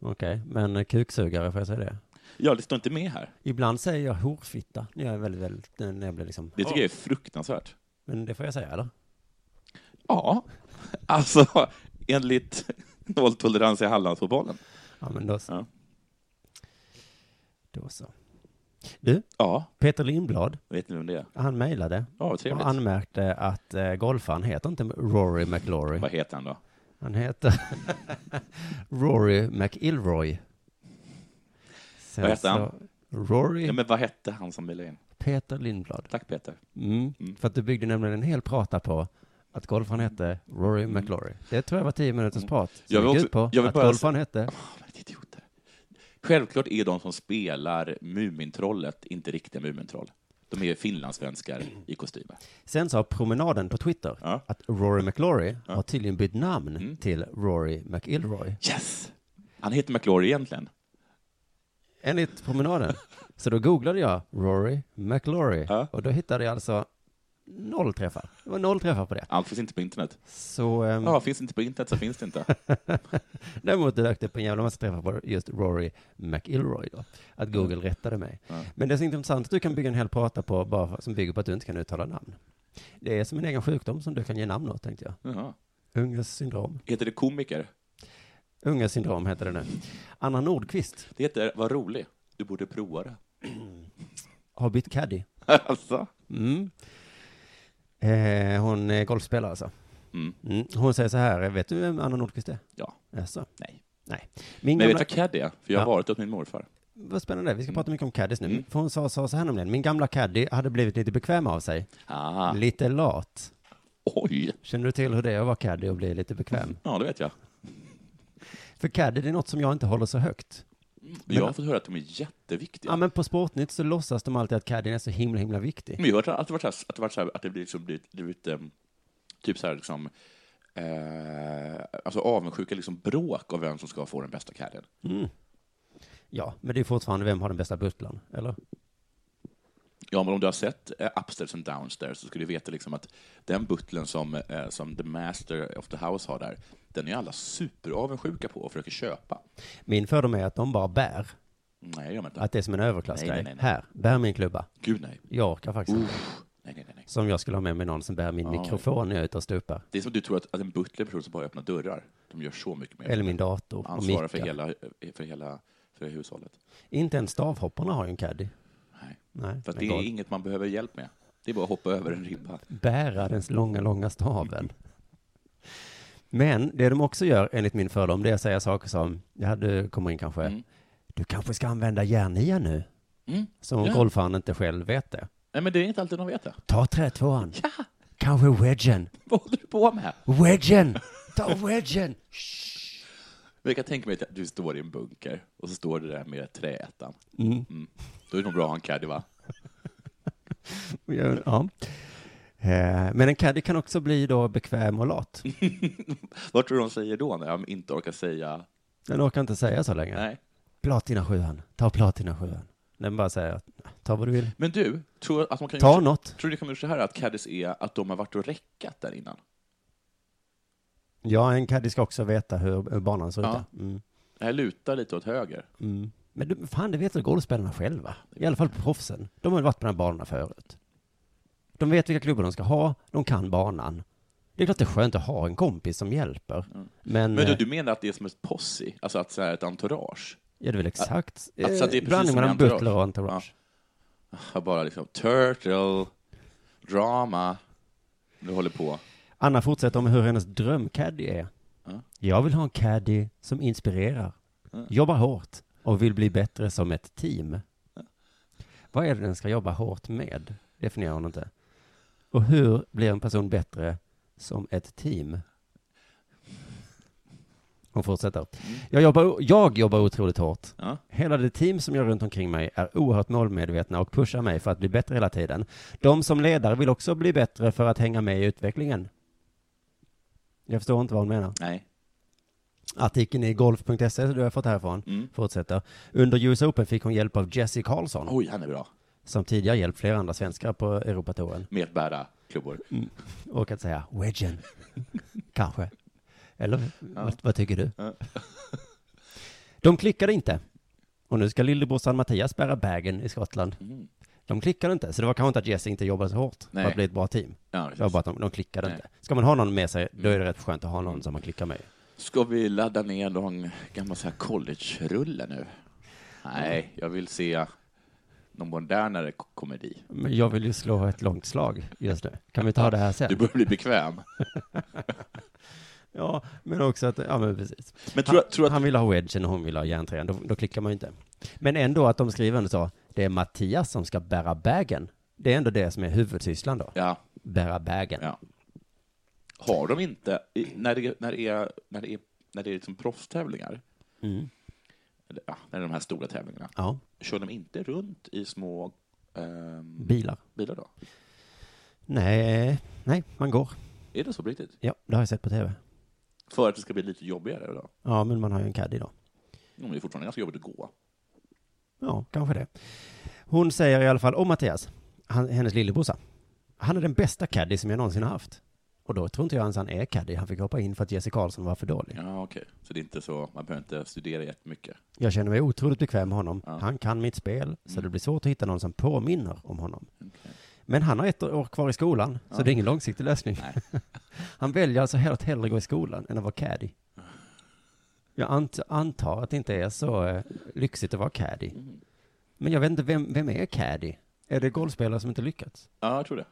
S2: Okej, men eh, kuksugare, får jag säga det?
S3: Ja, det står inte med här.
S2: Ibland säger jag horfitta när jag är väldigt, väldigt, när jag blir liksom,
S3: Det tycker jag är fruktansvärt.
S2: men det får jag säga eller?
S3: Ja, alltså enligt nolltolerans i Hallandsfotbollen.
S2: Ja, men då så.
S3: Ja.
S2: Då så. Du,
S3: Ja,
S2: Peter Lindblad,
S3: vet ni vem det är?
S2: han mejlade
S3: Ja, vad
S2: och
S3: trevligt.
S2: anmärkte att eh, golfaren heter inte Rory McLaury.
S3: Vad heter han då?
S2: Han heter Rory McIlroy. Sen
S3: Vad heter han?
S2: så- Rory
S3: Ja, men vad hette han som ville in?
S2: Peter Lindblad.
S3: Tack Peter.
S2: Mm.
S3: Mm.
S2: För att du byggde nämligen en hel prata på att golfaren hette Rory McLaury. Det tror jag var tio minuters prat. som
S3: Mm. Jag vill
S2: gick
S3: också-
S2: ut på
S3: jag vill
S2: att
S3: bara-
S2: golfaren hette...
S3: Ah, men idioter. Självklart är de som spelar Mumintrollet inte riktiga Mumintroll. De är finlandssvenskar i kostymer.
S2: Sen sa promenaden på Twitter
S3: Ja. Mm.
S2: att Rory McLaury har tydligen bytt namn till Rory McIlroy.
S3: Yes! Han heter McLaury egentligen.
S2: Enligt promenaden. Så då googlade jag Rory McLaury
S3: Ja.
S2: och då hittade jag alltså noll träffar. Det var noll träffar på det.
S3: Allt finns inte på internet.
S2: Så ehm,
S3: Ja, finns inte på internet så finns det inte.
S2: däremot dök det upp en jävla massa träffar på just Rory McIlroy då. Att Google rättade mig. Men det är så intressant att du kan bygga en hel prata på bara för, som bygger på att du inte kan uttala namn. Det är som en egen sjukdom som du kan ge namn åt tänkte jag.
S3: Jaha.
S2: Unges syndrom.
S3: Heter det komiker?
S2: Unges syndrom heter det nu. Anna Nordqvist
S3: Det heter Vad rolig. Du borde prova det.
S2: har bytt caddy.
S3: alltså?
S2: Mm. Eh, hon är golfspelare alltså.
S3: Mm.
S2: Mm. Hon säger så här, vet du vem Anna Nordqvist är?
S3: Ja.
S2: Jaså?
S3: Nej.
S2: Nej. Min
S3: Men jag
S2: gamla...
S3: vet vad caddy är, för jag har
S2: Ja.
S3: varit åt min morfar.
S2: Vad spännande, vi ska prata mycket om caddies nu.
S3: Mm.
S2: För hon sa, sa så här nämligen, min gamla caddy hade blivit lite bekväm av sig.
S3: Ah,
S2: Lite lat.
S3: oj!
S2: Känner du till hur det är att vara caddy och bli lite bekväm?
S3: Ja, det vet jag.
S2: För caddy, det är något som jag inte håller så högt.
S3: Jag har fått höra att de är jätteviktiga.
S2: Ja, men på Sportnytt så låtsas de alltid att caddien är så himla, himla viktig.
S3: Men jag har hört att det varit så här, att det, varit så här, att det blir liksom, blivit, blivit ehm, typ så här liksom, eh, alltså avundsjuka liksom bråk av vem som ska få den bästa cadden.
S2: Mm. Ja, men det är fortfarande vem har den bästa butlern, eller?
S3: Ja, men om du har sett eh, Upstairs and Downstairs så skulle du veta liksom att den butlern som, eh, som the master of the house har där, den är alla superavundsjuka på och försöker köpa.
S2: Min fördom är att de bara bär.
S3: Nej, jag inte.
S2: Att det är som en överklassgrej.
S3: Nej, nej, nej, nej.
S2: Här, bär min klubba.
S3: Gud nej.
S2: Jag orkar faktiskt inte.
S3: Nej, nej, nej, nej.
S2: Som jag skulle ha med mig någon som bär min
S3: Ja.
S2: mikrofon när jag är ute och stupar.
S3: Det är som att du tror att, att en butler är en person som bara öppnar dörrar. De gör så mycket mer.
S2: Eller min dator och
S3: Ansvarar för
S2: mickar.
S3: hela, eh, för hela för hushållet.
S2: Inte ens stavhopparna har ju en caddy.
S3: Nej.
S2: Nej,
S3: För att det
S2: men
S3: är
S2: gott.
S3: inget man behöver hjälp med. Det är bara att hoppa över en ribba.
S2: bära den långa, långa staven. Men det de också gör, enligt min fördom, det är att säga saker som, ja, du kommer in kanske,
S3: Mm.
S2: du kanske ska använda järnia nu,
S3: Mm.
S2: som om
S3: Ja.
S2: golfaren inte själv vet det.
S3: Nej, men det är inte alltid de vet det.
S2: Ta trätvåan,
S3: Ja,
S2: kanske wedgen,
S3: vad håller du på med?
S2: wedgen, ta wedgen.
S3: Men Jag kan tänka mig att du står i en bunker och så står du där med träettan.
S2: Mm.
S3: Då är det nog bra att ha en caddy, va?
S2: Ja. Eh, Men en caddy kan också bli då bekväm och lat.
S3: Vad tror du de säger då när de inte orkar säga
S2: Den orkar inte säga så länge.
S3: nej?
S2: Platina sjuan, ta platina sjuan. Den bara säger, ta vad du vill.
S3: Men du, tror att man kan
S2: Ta något.
S3: Tror du det kan göra så här att caddies är att de har varit och räckat där innan?
S2: Ja, en caddy ska också veta hur hur banan ser ut.
S3: Ja.
S2: ja. Mm.
S3: Det här lutar lite åt höger.
S2: Mm. Men du, fan, det vet väl golfspelarna själva? I alla fall proffsen. De har varit på den här banorna förut. De vet vilka klubbor de ska ha, de kan banan. Det är klart det är skönt att ha en kompis som hjälper. Men,
S3: Men du,
S2: eh,
S3: du menar att det är som ett posse, alltså att så här ett entourage?
S2: ja, det är väl exakt
S3: att- att det är precis
S2: Eh, blandning
S3: som
S2: mellan
S3: i entourage.
S2: butler och entourage.
S3: Har bara liksom turtle, drama, du håller på.
S2: Anna fortsätter om hur hennes drömcaddy är.
S3: Ja.
S2: Jag vill ha en caddy som inspirerar, jobbar hårt och vill bli bättre som ett team. Vad är det den ska jobba hårt med? Definierar hon inte. Och hur blir en person bättre som ett team? Hon fortsätter. Jag jobbar, jag jobbar otroligt hårt.
S3: Mm. Ja.
S2: Hela det team som jag runt omkring mig är oerhört målmedvetna och pushar mig för att bli bättre hela tiden. De som ledare vill också bli bättre för att hänga med i utvecklingen. Jag förstår inte vad hon menar.
S3: Nej.
S2: Artikeln i golf.se som du har fått härifrån
S3: Mm.
S2: fortsätter. Under US Open fick hon hjälp av Jesse Karlsson,
S3: Oj, han är bra.
S2: som tidigare hjälpt flera andra svenskar på Europatouren.
S3: Med att bära klubbor.
S2: Mm. Och att säga wedgen, kanske. Eller vad, vad tycker du?
S3: Ja.
S2: De klickade inte. Och nu ska lillebrorsan Mattias bära bagen i Skottland.
S3: Mm.
S2: De klickade inte, så det var kanske inte att Jesse inte jobbade så hårt
S3: Nej.
S2: för att bli ett bra team.
S3: Ja,
S2: Det var
S3: precis.
S2: bara att de, de klickade
S3: Nej. Mm.
S2: inte. Ska man ha någon med sig, då är det rätt skönt att ha någon som man klickar med.
S3: Ska vi ladda ner någon gammal så här college-rulle nu? Nej, jag vill se någon modernare k- komedi.
S2: Men jag vill ju slå ett långt slag just nu. Kan vi ta det här sen?
S3: Du börjar bli bekväm.
S2: Ja, men också att, ja men precis.
S3: Men tror, tror att...
S2: Han vill ha wedgen och hon vill ha järnträn, då, då klickar man ju inte. Men ändå att de skriver ändå så, det är Mattias som ska bära bagen. Det är ändå det som är huvudsysslan då,
S3: Ja,
S2: bära bagen.
S3: ja. Har de inte, i- när det, när det är, när det är, när det är liksom proffstävlingar,
S2: Mm.
S3: eller, ja, när det är de här stora tävlingarna,
S2: Ja,
S3: kör de inte runt i små ehm,
S2: bilar.
S3: bilar då?
S2: Nej, nej, man går.
S3: Är det så på riktigt?
S2: Ja, det har jag sett på tv.
S3: För att det ska bli lite jobbigare då?
S2: Ja, men man har ju en caddy då.
S3: Jo, men det är fortfarande ganska jobbigt att gå.
S2: Ja, kanske det. Hon säger i alla fall om Mattias, han, hennes lillebrorsa. Han är den bästa caddy som jag någonsin har haft. Och då tror inte jag ens han är caddy. Han fick hoppa in för att Jesse Karlsson var för dålig.
S3: Ja, okej. Så det är inte så, man behöver inte studera jättemycket.
S2: Jag känner mig otroligt bekväm med honom.
S3: Ja.
S2: Han kan mitt spel, så
S3: Mm.
S2: det blir svårt att hitta någon som påminner om honom.
S3: Okej.
S2: Men han har ett år kvar i skolan, så
S3: Ja.
S2: det är ingen långsiktig lösning.
S3: Nej.
S2: han väljer alltså helt hellre gå i skolan än att vara caddy. Jag ant- antar att det inte är så eh, lyxigt att vara caddy.
S3: Mm.
S2: Men jag vet inte, vem, vem är caddy? Är det golfspelare som inte lyckats?
S3: Ja, jag tror det.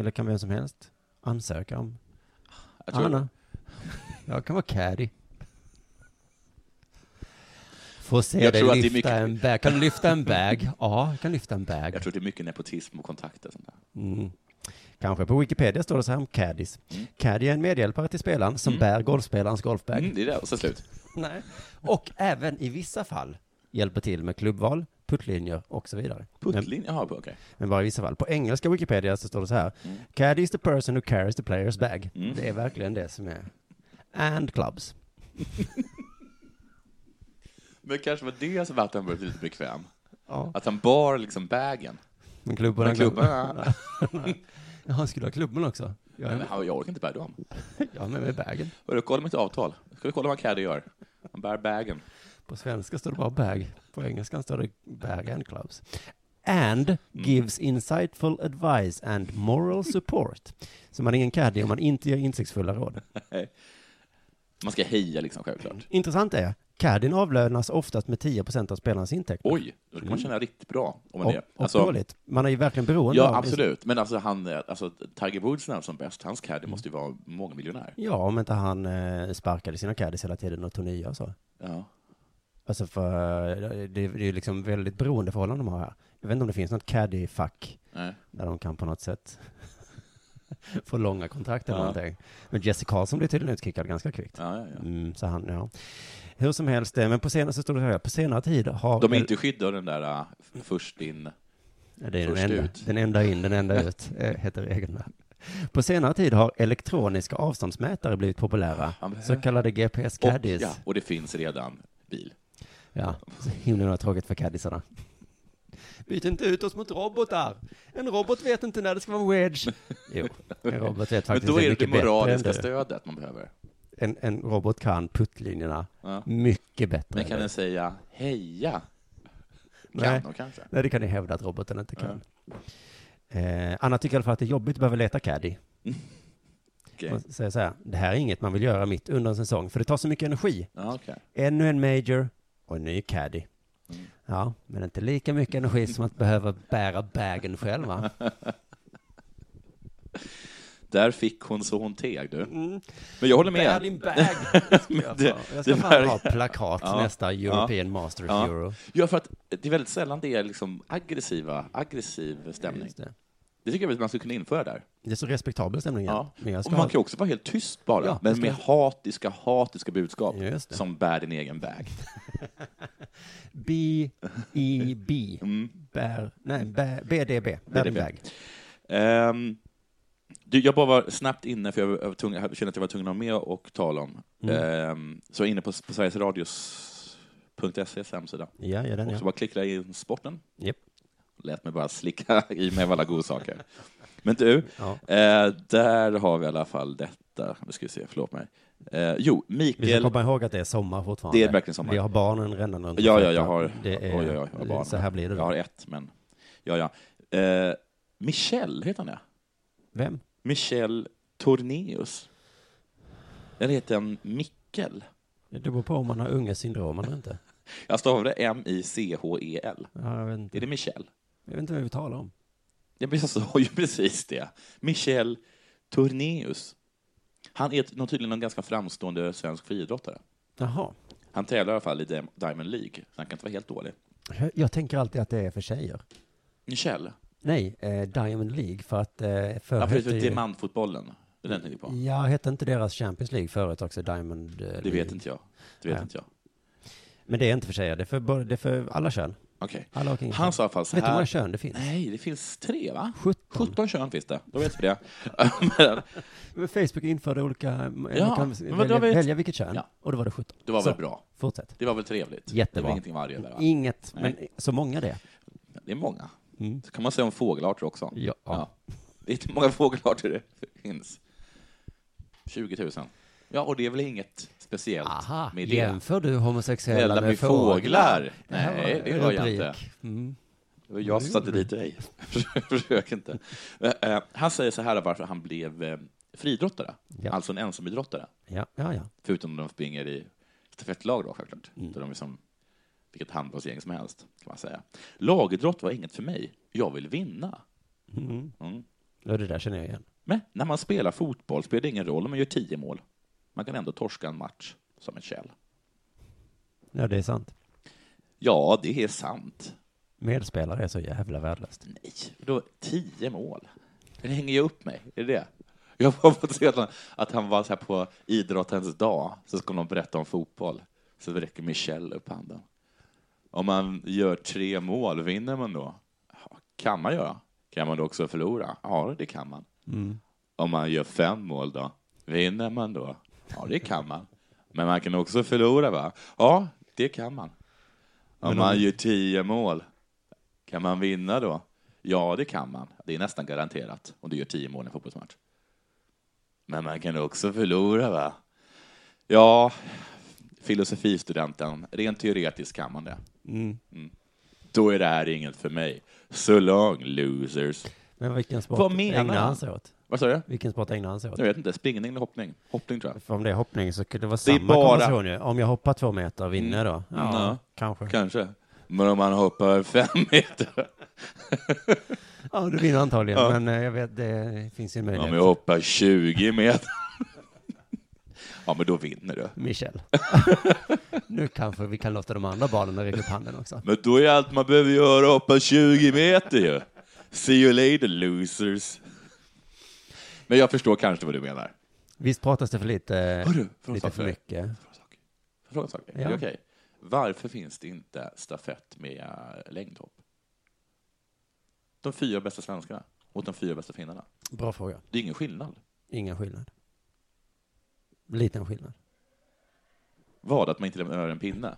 S2: Eller kan vem som helst ansöka om?
S3: Jag tror
S2: Anna, jag kan vara caddy. Får se
S3: Jag
S2: dig
S3: tror att det är
S2: lyfta
S3: mycket-
S2: en bag. Kan du lyfta en bag? Ja, jag kan lyfta en bag.
S3: Jag tror det är mycket nepotism och kontakter. och Sånt där.
S2: Mm. Kanske på Wikipedia står det så här om caddies. Caddy är en medhjälpare till spelaren som bär golfspelarens golfbag.
S3: Mm, det är det, och så slut.
S2: Nej. Och även i vissa fall hjälper till med klubbval, puttlinjer och så vidare.
S3: Puttlinjer? Jaha, okej.
S2: Men bara i vissa fall. På engelska Wikipedia så står det så här.
S3: Mm.
S2: Caddy is the person who carries the player's bag. Det är verkligen det som är. And clubs.
S3: Men kanske var det som att han blev lite bekväm?
S2: Ja.
S3: Att han bar liksom bagen?
S2: Men klubborna...
S3: Men klubborna-
S2: Nej. Ja, han skulle ha klubben också. Jag
S3: Nej,
S2: är
S3: men han- jag orkar inte bära dem.
S2: jag är med mig i bagen.
S3: Hörru, kolla mitt avtal. Ska vi kolla vad Caddy gör? Han bär bagen.
S2: På svenska står det bara bag. På engelskan står det bag and clubs.
S3: Mm.
S2: And gives insightful advice and moral support. Så man är ingen caddy om man inte ger insiktsfulla råd.
S3: Man ska heja liksom, självklart.
S2: Intressant är, caddien avlönas oftast med 10% av spelarens intäkter.
S3: Oj, då kan man känna riktigt bra om man
S2: Och,
S3: är... alltså-
S2: och dåligt. Man är ju verkligen beroende
S3: Ja,
S2: av...
S3: absolut. Men alltså, han, eh, alltså Tiger Woods när han var som bäst, hans caddy måste ju vara mångmiljonär.
S2: Ja, om inte han eh, sparkade sina caddies hela tiden och tog nya och så.
S3: Ja.
S2: Alltså för, eh, det, det är ju liksom väldigt beroendeförhållande de har här. Jag vet inte om det finns något caddy-fack
S3: Nej.
S2: där de kan på något sätt få långa kontrakt eller
S3: Ja.
S2: någonting. Men Jesse Karlsson blev tydligen utkickad ganska kvickt.
S3: Ja, ja, ja.
S2: Mm, så han, ja. Hur som helst, eh, men på senare, så står det här, på senare tid har...
S3: De är inte skyddade av den där eh, först in...
S2: Ja, det är den
S3: Först
S2: enda,
S3: ut.
S2: den enda in, den enda ut, eh, heter reglerna. På senare tid har elektroniska avståndsmätare blivit populära,
S3: Ja, men-
S2: så kallade
S3: Och,
S2: GPS-caddies.
S3: ja, och det finns redan bil.
S2: Ja, så himlen har tråkigt för caddisarna. Byt inte ut oss mot robotar. En robot vet inte när det ska vara wedge. Jo, en robot vet
S3: Men
S2: faktiskt
S3: då är det det
S2: mycket bättre än
S3: moraliska
S2: du.
S3: stödet man behöver.
S2: En, en robot kan puttlinjerna
S3: Ja.
S2: mycket bättre
S3: Men kan
S2: än
S3: den
S2: du.
S3: säga heja?
S2: Nej.
S3: Kan de kanske?
S2: Nej, det kan ni hävda att roboten inte kan. Eh, Anna tycker i alla fall att det är jobbigt att behöva leta caddy.
S3: Okej.
S2: Man säger så här, det här är inget man vill göra mitt under en säsong, för det tar så mycket energi.
S3: Ja, okej.
S2: Ännu en major och en ny caddy.
S3: Mm.
S2: Ja, men inte lika mycket energi som att behöva bära bagen själv, va?
S3: Där fick hon så hon teg, du. Men jag håller
S2: Bär
S3: med.
S2: din bag! Det ska jag
S3: Mm. Det-
S2: få. Jag ska
S3: det
S2: fan
S3: var-
S2: ha plakat
S3: Ja.
S2: nästa European Masters
S3: Ja.
S2: Euro.
S3: Ja, för att det är väldigt sällan det är liksom aggressiva, aggressiv stämning.
S2: Just det.
S3: Det tycker jag att man skulle kunna införa där.
S2: det är så respektabel stämning.
S3: Ja.
S2: Ja. Men jag
S3: Och
S2: ska
S3: man
S2: ha...
S3: kan också vara helt tyst bara,
S2: Ja,
S3: men
S2: jag
S3: med hatiska, hatiska budskap
S2: Just det.
S3: som bär din egen väg.
S2: B-E-B. E,
S3: Mm.
S2: Bär... Nej, bär- BDB. Bär din
S3: BDB.
S2: bag.
S3: Ehm, du, jag bara var snabbt inne, för jag, var- jag, var tvungen- jag kände att jag var tvungen att ha med och tala om.
S2: Mm.
S3: Ehm, så jag var inne på, på Sveriges Radios.ses E hemsida.
S2: Ja, ja, den
S3: Och
S2: ja.
S3: så bara klickade jag in sporten.
S2: Japp.
S3: Lät mig bara slicka i mig av alla godsaker. Men du,
S2: Ja.
S3: eh, där har vi i alla fall detta. Nu ska vi se, förlåt mig. Eh, jo,
S2: Vi ska
S3: Mikael.
S2: komma ihåg att det är sommar fortfarande.
S3: Det är verkligen sommar.
S2: Vi har barnen rännande runt.
S3: Ja, ja, jag
S2: fötterna.
S3: har,
S2: Det är...
S3: oj, oj, oj, jag har barn.
S2: Så här blir det
S3: Jag har
S2: då.
S3: ett, men... Ja, ja. Eh, Michel heter han, ja.
S2: Vem?
S3: Michel Tornéus. Eller heter han Mickel?
S2: Det beror på om man har ungesyndrom eller inte.
S3: Jag stavar det M-I-C-H-E-L.
S2: Ja, jag vet inte.
S3: E Är det Michel?
S2: Jag vet inte vad vi talar om.
S3: Jag precis- sa ju precis det. Michel Tornéus. Han är t- någon- tydligen en ganska framstående svensk friidrottare.
S2: Jaha.
S3: Han tävlar i alla fall i Dim- Diamond League, så han kan inte vara helt dålig.
S2: Jag- Jag tänker alltid att det är för tjejer.
S3: Michel?
S2: Nej, eh, Diamond League för att eh, förr
S3: Ja,
S2: hette
S3: precis.
S2: ju...
S3: Diamantfotbollen. Det är den jag tänker på.
S2: Ja, hette inte deras Champions League förut också Diamond eh,
S3: Det
S2: League?
S3: vet inte jag. Det vet
S2: Nej.
S3: inte jag.
S2: Men det är inte för tjejer, det är för, både- det är för alla kön.
S3: Okej.
S2: Alla och inga
S3: Han
S2: kön.
S3: sa i alla fall så
S2: Mm. Vet du hur många
S3: här.
S2: kön det finns?
S3: Nej, det finns tre, va?
S2: 17.
S3: 17 kön finns det. Då vet vi det. Men
S2: Men Facebook införde olika... Ja, man kan
S3: men vad
S2: välja,
S3: då vet-
S2: välja vilket kön.
S3: Ja.
S2: Och då var det 17.
S3: det var
S2: Så,
S3: väl bra.
S2: Fortsätt.
S3: Det var väl trevligt?
S2: Jättebra.
S3: Det var ingenting varje där, va?
S2: Inget, men
S3: Nej.
S2: så många det.
S3: Det är många.
S2: Mm.
S3: Så kan man säga om fågelarter också.
S2: Ja.
S3: Det är inte många fågelarter det finns. 20 000. Ja, och det är väl inget speciellt
S2: Aha,
S3: med det?
S2: jämför du homosexuella
S3: Eller
S2: med,
S3: med
S2: fåglar?
S3: fåglar?
S2: här
S3: Nej,
S2: var
S3: det
S2: en
S3: gör jag
S2: rubrik.
S3: inte.
S2: Mm.
S3: Det var jag som satte dit dig. Försök inte. Eh, eh, Han säger så här varför han blev eh, friidrottare,
S2: Ja.
S3: alltså en ensamidrottare.
S2: Ja, ja, ja.
S3: Förutom när de springer i stafettlag då självklart.
S2: Mm.
S3: Där de är som vilket handbollsgäng som helst, kan man säga. Lagidrott var inget för mig. Jag vill vinna.
S2: Mm.
S3: Mm.
S2: Ja, Det där känner jag igen.
S3: Men när man spelar fotboll spelar det ingen roll om man gör tio mål. Man kan ändå torska en match som en käll.
S2: Ja, det är sant.
S3: Ja, det är sant.
S2: Medspelare är så jävla värdelöst.
S3: Nej, då tio mål. Det hänger ju upp mig. Är det det? Jag har fått se att han, att han var så här på idrottens dag, så ska de berätta om fotboll. Så räcker Michel upp handen. Om man gör tre mål, vinner man då? Ja, Kan man göra. Kan man då också förlora? Ja, det kan man.
S2: Mm.
S3: Om man gör fem mål då? Vinner man då? Ja, det kan man. Men man kan också förlora, va? Ja, det kan man. Om
S2: Men om-
S3: man gör tio mål, kan man vinna då? Ja, det kan man. Det är nästan garanterat om du gör tio mål i en fotbollsmatch. Men man kan också förlora, va? Ja, filosofistudenten, rent teoretiskt kan man det.
S2: Mm.
S3: Då är det här inget för mig. So long, losers.
S2: Men vilken sport
S3: Vad menar
S2: ägnar
S3: han?
S2: han sig åt?
S3: Vad sa du?
S2: Vilken sport ägnar han sig åt?
S3: Jag vet inte, springning eller hoppning? Hoppning tror jag.
S2: För om det är hoppning så kunde det vara
S3: Det är
S2: samma
S3: bara- Mm.
S2: konversation ju. Om jag hoppar två meter och vinner då? Ja,
S3: Ja.
S2: kanske.
S3: Kanske. Men om man hoppar fem meter?
S2: Ja, du vinner antagligen.
S3: Ja.
S2: Men eh, jag vet, det finns ju en
S3: Om
S2: möjlighet.
S3: jag hoppar 20 meter? Ja, men då vinner du.
S2: Michel. nu kanske vi kan låta de andra barnen räcka upp handen också.
S3: Men då är allt man behöver göra att hoppa 20 meter ju. See you later, losers. Men jag förstår kanske vad du menar.
S2: Visst pratas det för lite,
S3: Hörru, får jag
S2: lite
S3: säga
S2: för
S3: det?
S2: mycket?
S3: Fråga en sak. Är
S2: Ja.
S3: det okej? Varför finns det inte stafett med eh, längdhopp? De fyra bästa svenskarna mot de fyra bästa finnarna.
S2: Bra fråga.
S3: Det är ingen skillnad.
S2: Ingen skillnad. Liten skillnad.
S3: Vad? Att man inte lämnar över en pinne?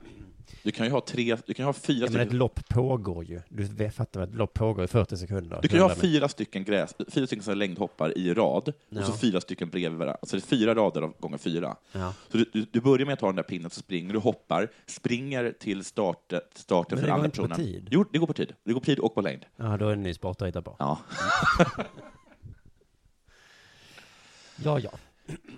S3: Du kan ju ha tre, du kan ju ha fyra
S2: Ja, men ett
S3: stycken,
S2: lopp pågår ju. Du vet- fattar väl att ett lopp pågår i 40 sekunder?
S3: du kan ju ha
S2: Hundra
S3: fyra stycken gräs, fyra stycken såna här längdhoppar i rad
S2: Ja.
S3: och så fyra stycken bredvid varandra. Så det är fyra rader av gånger fyra.
S2: meter. Ja.
S3: Så du, du, du börjar med att ta den där pinnen, så springer du, hoppar, springer till start, starten
S2: Men
S3: för
S2: det går
S3: andra
S2: inte på
S3: personen.
S2: tid.
S3: Jo, det går på tid. Det går på tid och på längd.
S2: ja, då är det en ny sport att hitta på.
S3: Ja.
S2: Ja, ja.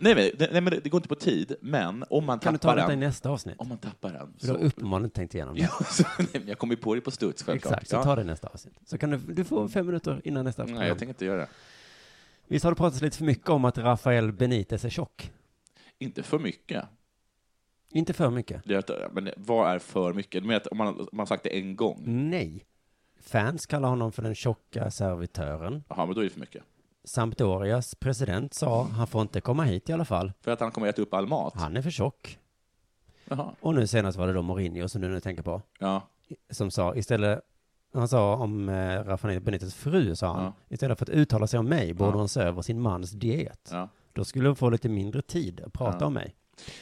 S3: Nej, men, det- nej, men det- det går inte på tid, men om man
S2: Kan du ta
S3: tappar
S2: detta i
S3: den...
S2: nästa avsnitt?
S3: Om man tappar den...
S2: För du har
S3: Så,
S2: uppenbarligen inte tänkt igenom det.
S3: ja, så, nej, men jag kommer ju på det på studs, självklart.
S2: Exakt, så
S3: ja.
S2: ta det i nästa avsnitt. Så kan du, du får fem minuter innan nästa
S3: Nej,
S2: program.
S3: jag tänker inte göra det.
S2: Visst har det pratats lite för mycket om att Rafael Benitez är tjock?
S3: Inte för mycket.
S2: Inte för mycket?
S3: Det är att, men vad är för mycket? Du menar att om man, om man har sagt det en
S2: Mm.
S3: gång,
S2: Nej. Fans kallar honom för den tjocka servitören.
S3: jaha, men då är det för mycket.
S2: Sampdorias president sa han får inte komma hit i alla fall.
S3: För att han kommer att äta upp all mat?
S2: Han är för tjock.
S3: Jaha.
S2: Och nu senast var det då Mourinho som du nu tänker på.
S3: Ja.
S2: Som sa istället, han sa om eh, Rafael Benitez fru sa han,
S3: Ja.
S2: istället för att uttala sig om mig borde
S3: Ja.
S2: hon se över sin mans diet.
S3: ja.
S2: Då skulle hon få lite mindre tid att prata
S3: Ja.
S2: om mig.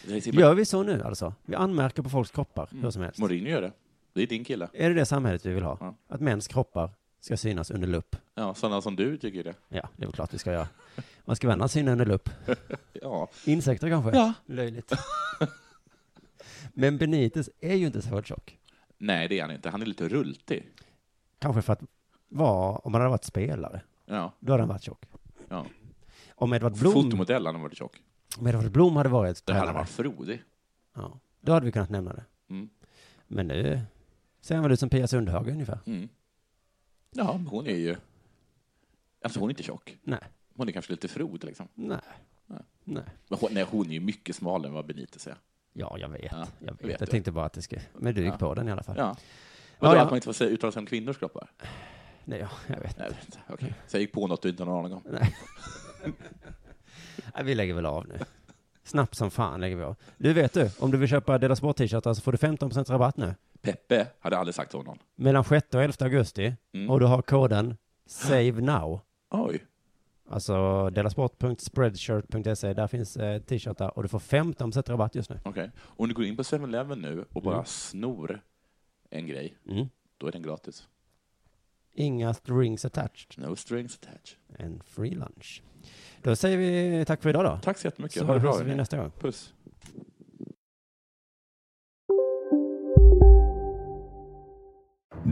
S3: Det är simpelt.
S2: Gör vi så nu alltså? Vi anmärker på folks kroppar,
S3: Mm.
S2: hur som helst.
S3: Mourinho gör det. Det är din kille.
S2: Är det det samhället vi vill ha?
S3: Ja.
S2: Att mäns kroppar ska synas under lupp?
S3: Ja, sådana som du tycker det.
S2: Ja, det är väl klart vi ska göra. Man ska vända syna under lupp.
S3: Ja.
S2: Insekter kanske?
S3: Ja.
S2: Löjligt. Men Benitez är ju inte särskilt tjock.
S3: Nej, det är han inte. Han är lite rultig.
S2: Kanske för att vara, om han hade varit spelare,
S3: Ja.
S2: då hade han varit tjock.
S3: ja.
S2: Om Edvard Blom,
S3: Fotomodell, han har varit tjock.
S2: om Edvard Blom hade varit
S3: Det här har
S2: tränare,
S3: varit frodig.
S2: ja, då hade vi kunnat nämna det.
S3: Mm.
S2: Men nu ser han väl ut som Pia Sundhage ungefär.
S3: Mm. Ja, men hon är ju... Alltså hon är inte tjock.
S2: Nej,
S3: Hon är kanske lite frodig liksom.
S2: nej,
S3: Nej.
S2: nej.
S3: Men hon, nej, hon är ju mycket smalare än vad Benitez är.
S2: Ja, jag vet.
S3: Ja,
S2: jag vet.
S3: vet
S2: jag
S3: du.
S2: tänkte bara att det skulle... Men du gick
S3: Ja.
S2: på den i alla fall.
S3: Ja.
S2: Ja,
S3: Vadå,
S2: ja.
S3: att man inte får säga, uttala sig om kvinnors kroppar?
S2: Nej, ja, jag vet.
S3: Nej, jag vet inte. Okej. Så jag gick på något du inte har någon aning om.
S2: Nej, vi lägger väl av nu. Snabbt som fan lägger vi av. Du vet du, om du vill köpa Dela Sport-t-shirtar så får du 15% rabatt nu.
S3: Peppe hade aldrig sagt till honom.
S2: Mellan 6 och 11 augusti.
S3: Mm.
S2: Och du har koden SAVE NOW.
S3: Oj.
S2: Alltså delasport.spreadshirt.se. Där finns eh, t-shirtar och du får 15% rabatt just nu.
S3: Okej. Om du går in på 7-Eleven nu och bara snor en grej,
S2: Mm.
S3: då är den gratis.
S2: Inga strings attached.
S3: No strings attached.
S2: En free lunch. Då säger vi tack för idag då.
S3: Tack så jättemycket.
S2: Så
S3: ha det bra.
S2: hörs vi
S3: hörni.
S2: nästa gång.
S3: Puss.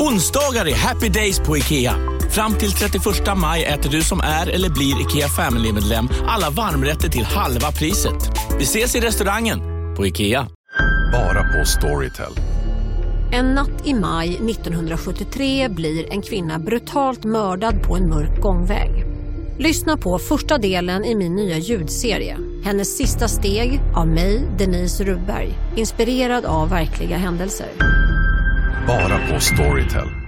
S8: Onsdagar är happy days på IKEA. Fram till 31 maj äter du som är eller blir IKEA Family-medlem alla varmrätter till halva priset. Vi ses i restaurangen på IKEA.
S9: Bara på Storytel. En natt i maj 1973 blir en kvinna brutalt mördad på en mörk gångväg. Lyssna på första delen i min nya ljudserie. Hennes sista steg av mig, Denise Rubberg. Inspirerad av verkliga händelser.
S10: Bara på Storytel.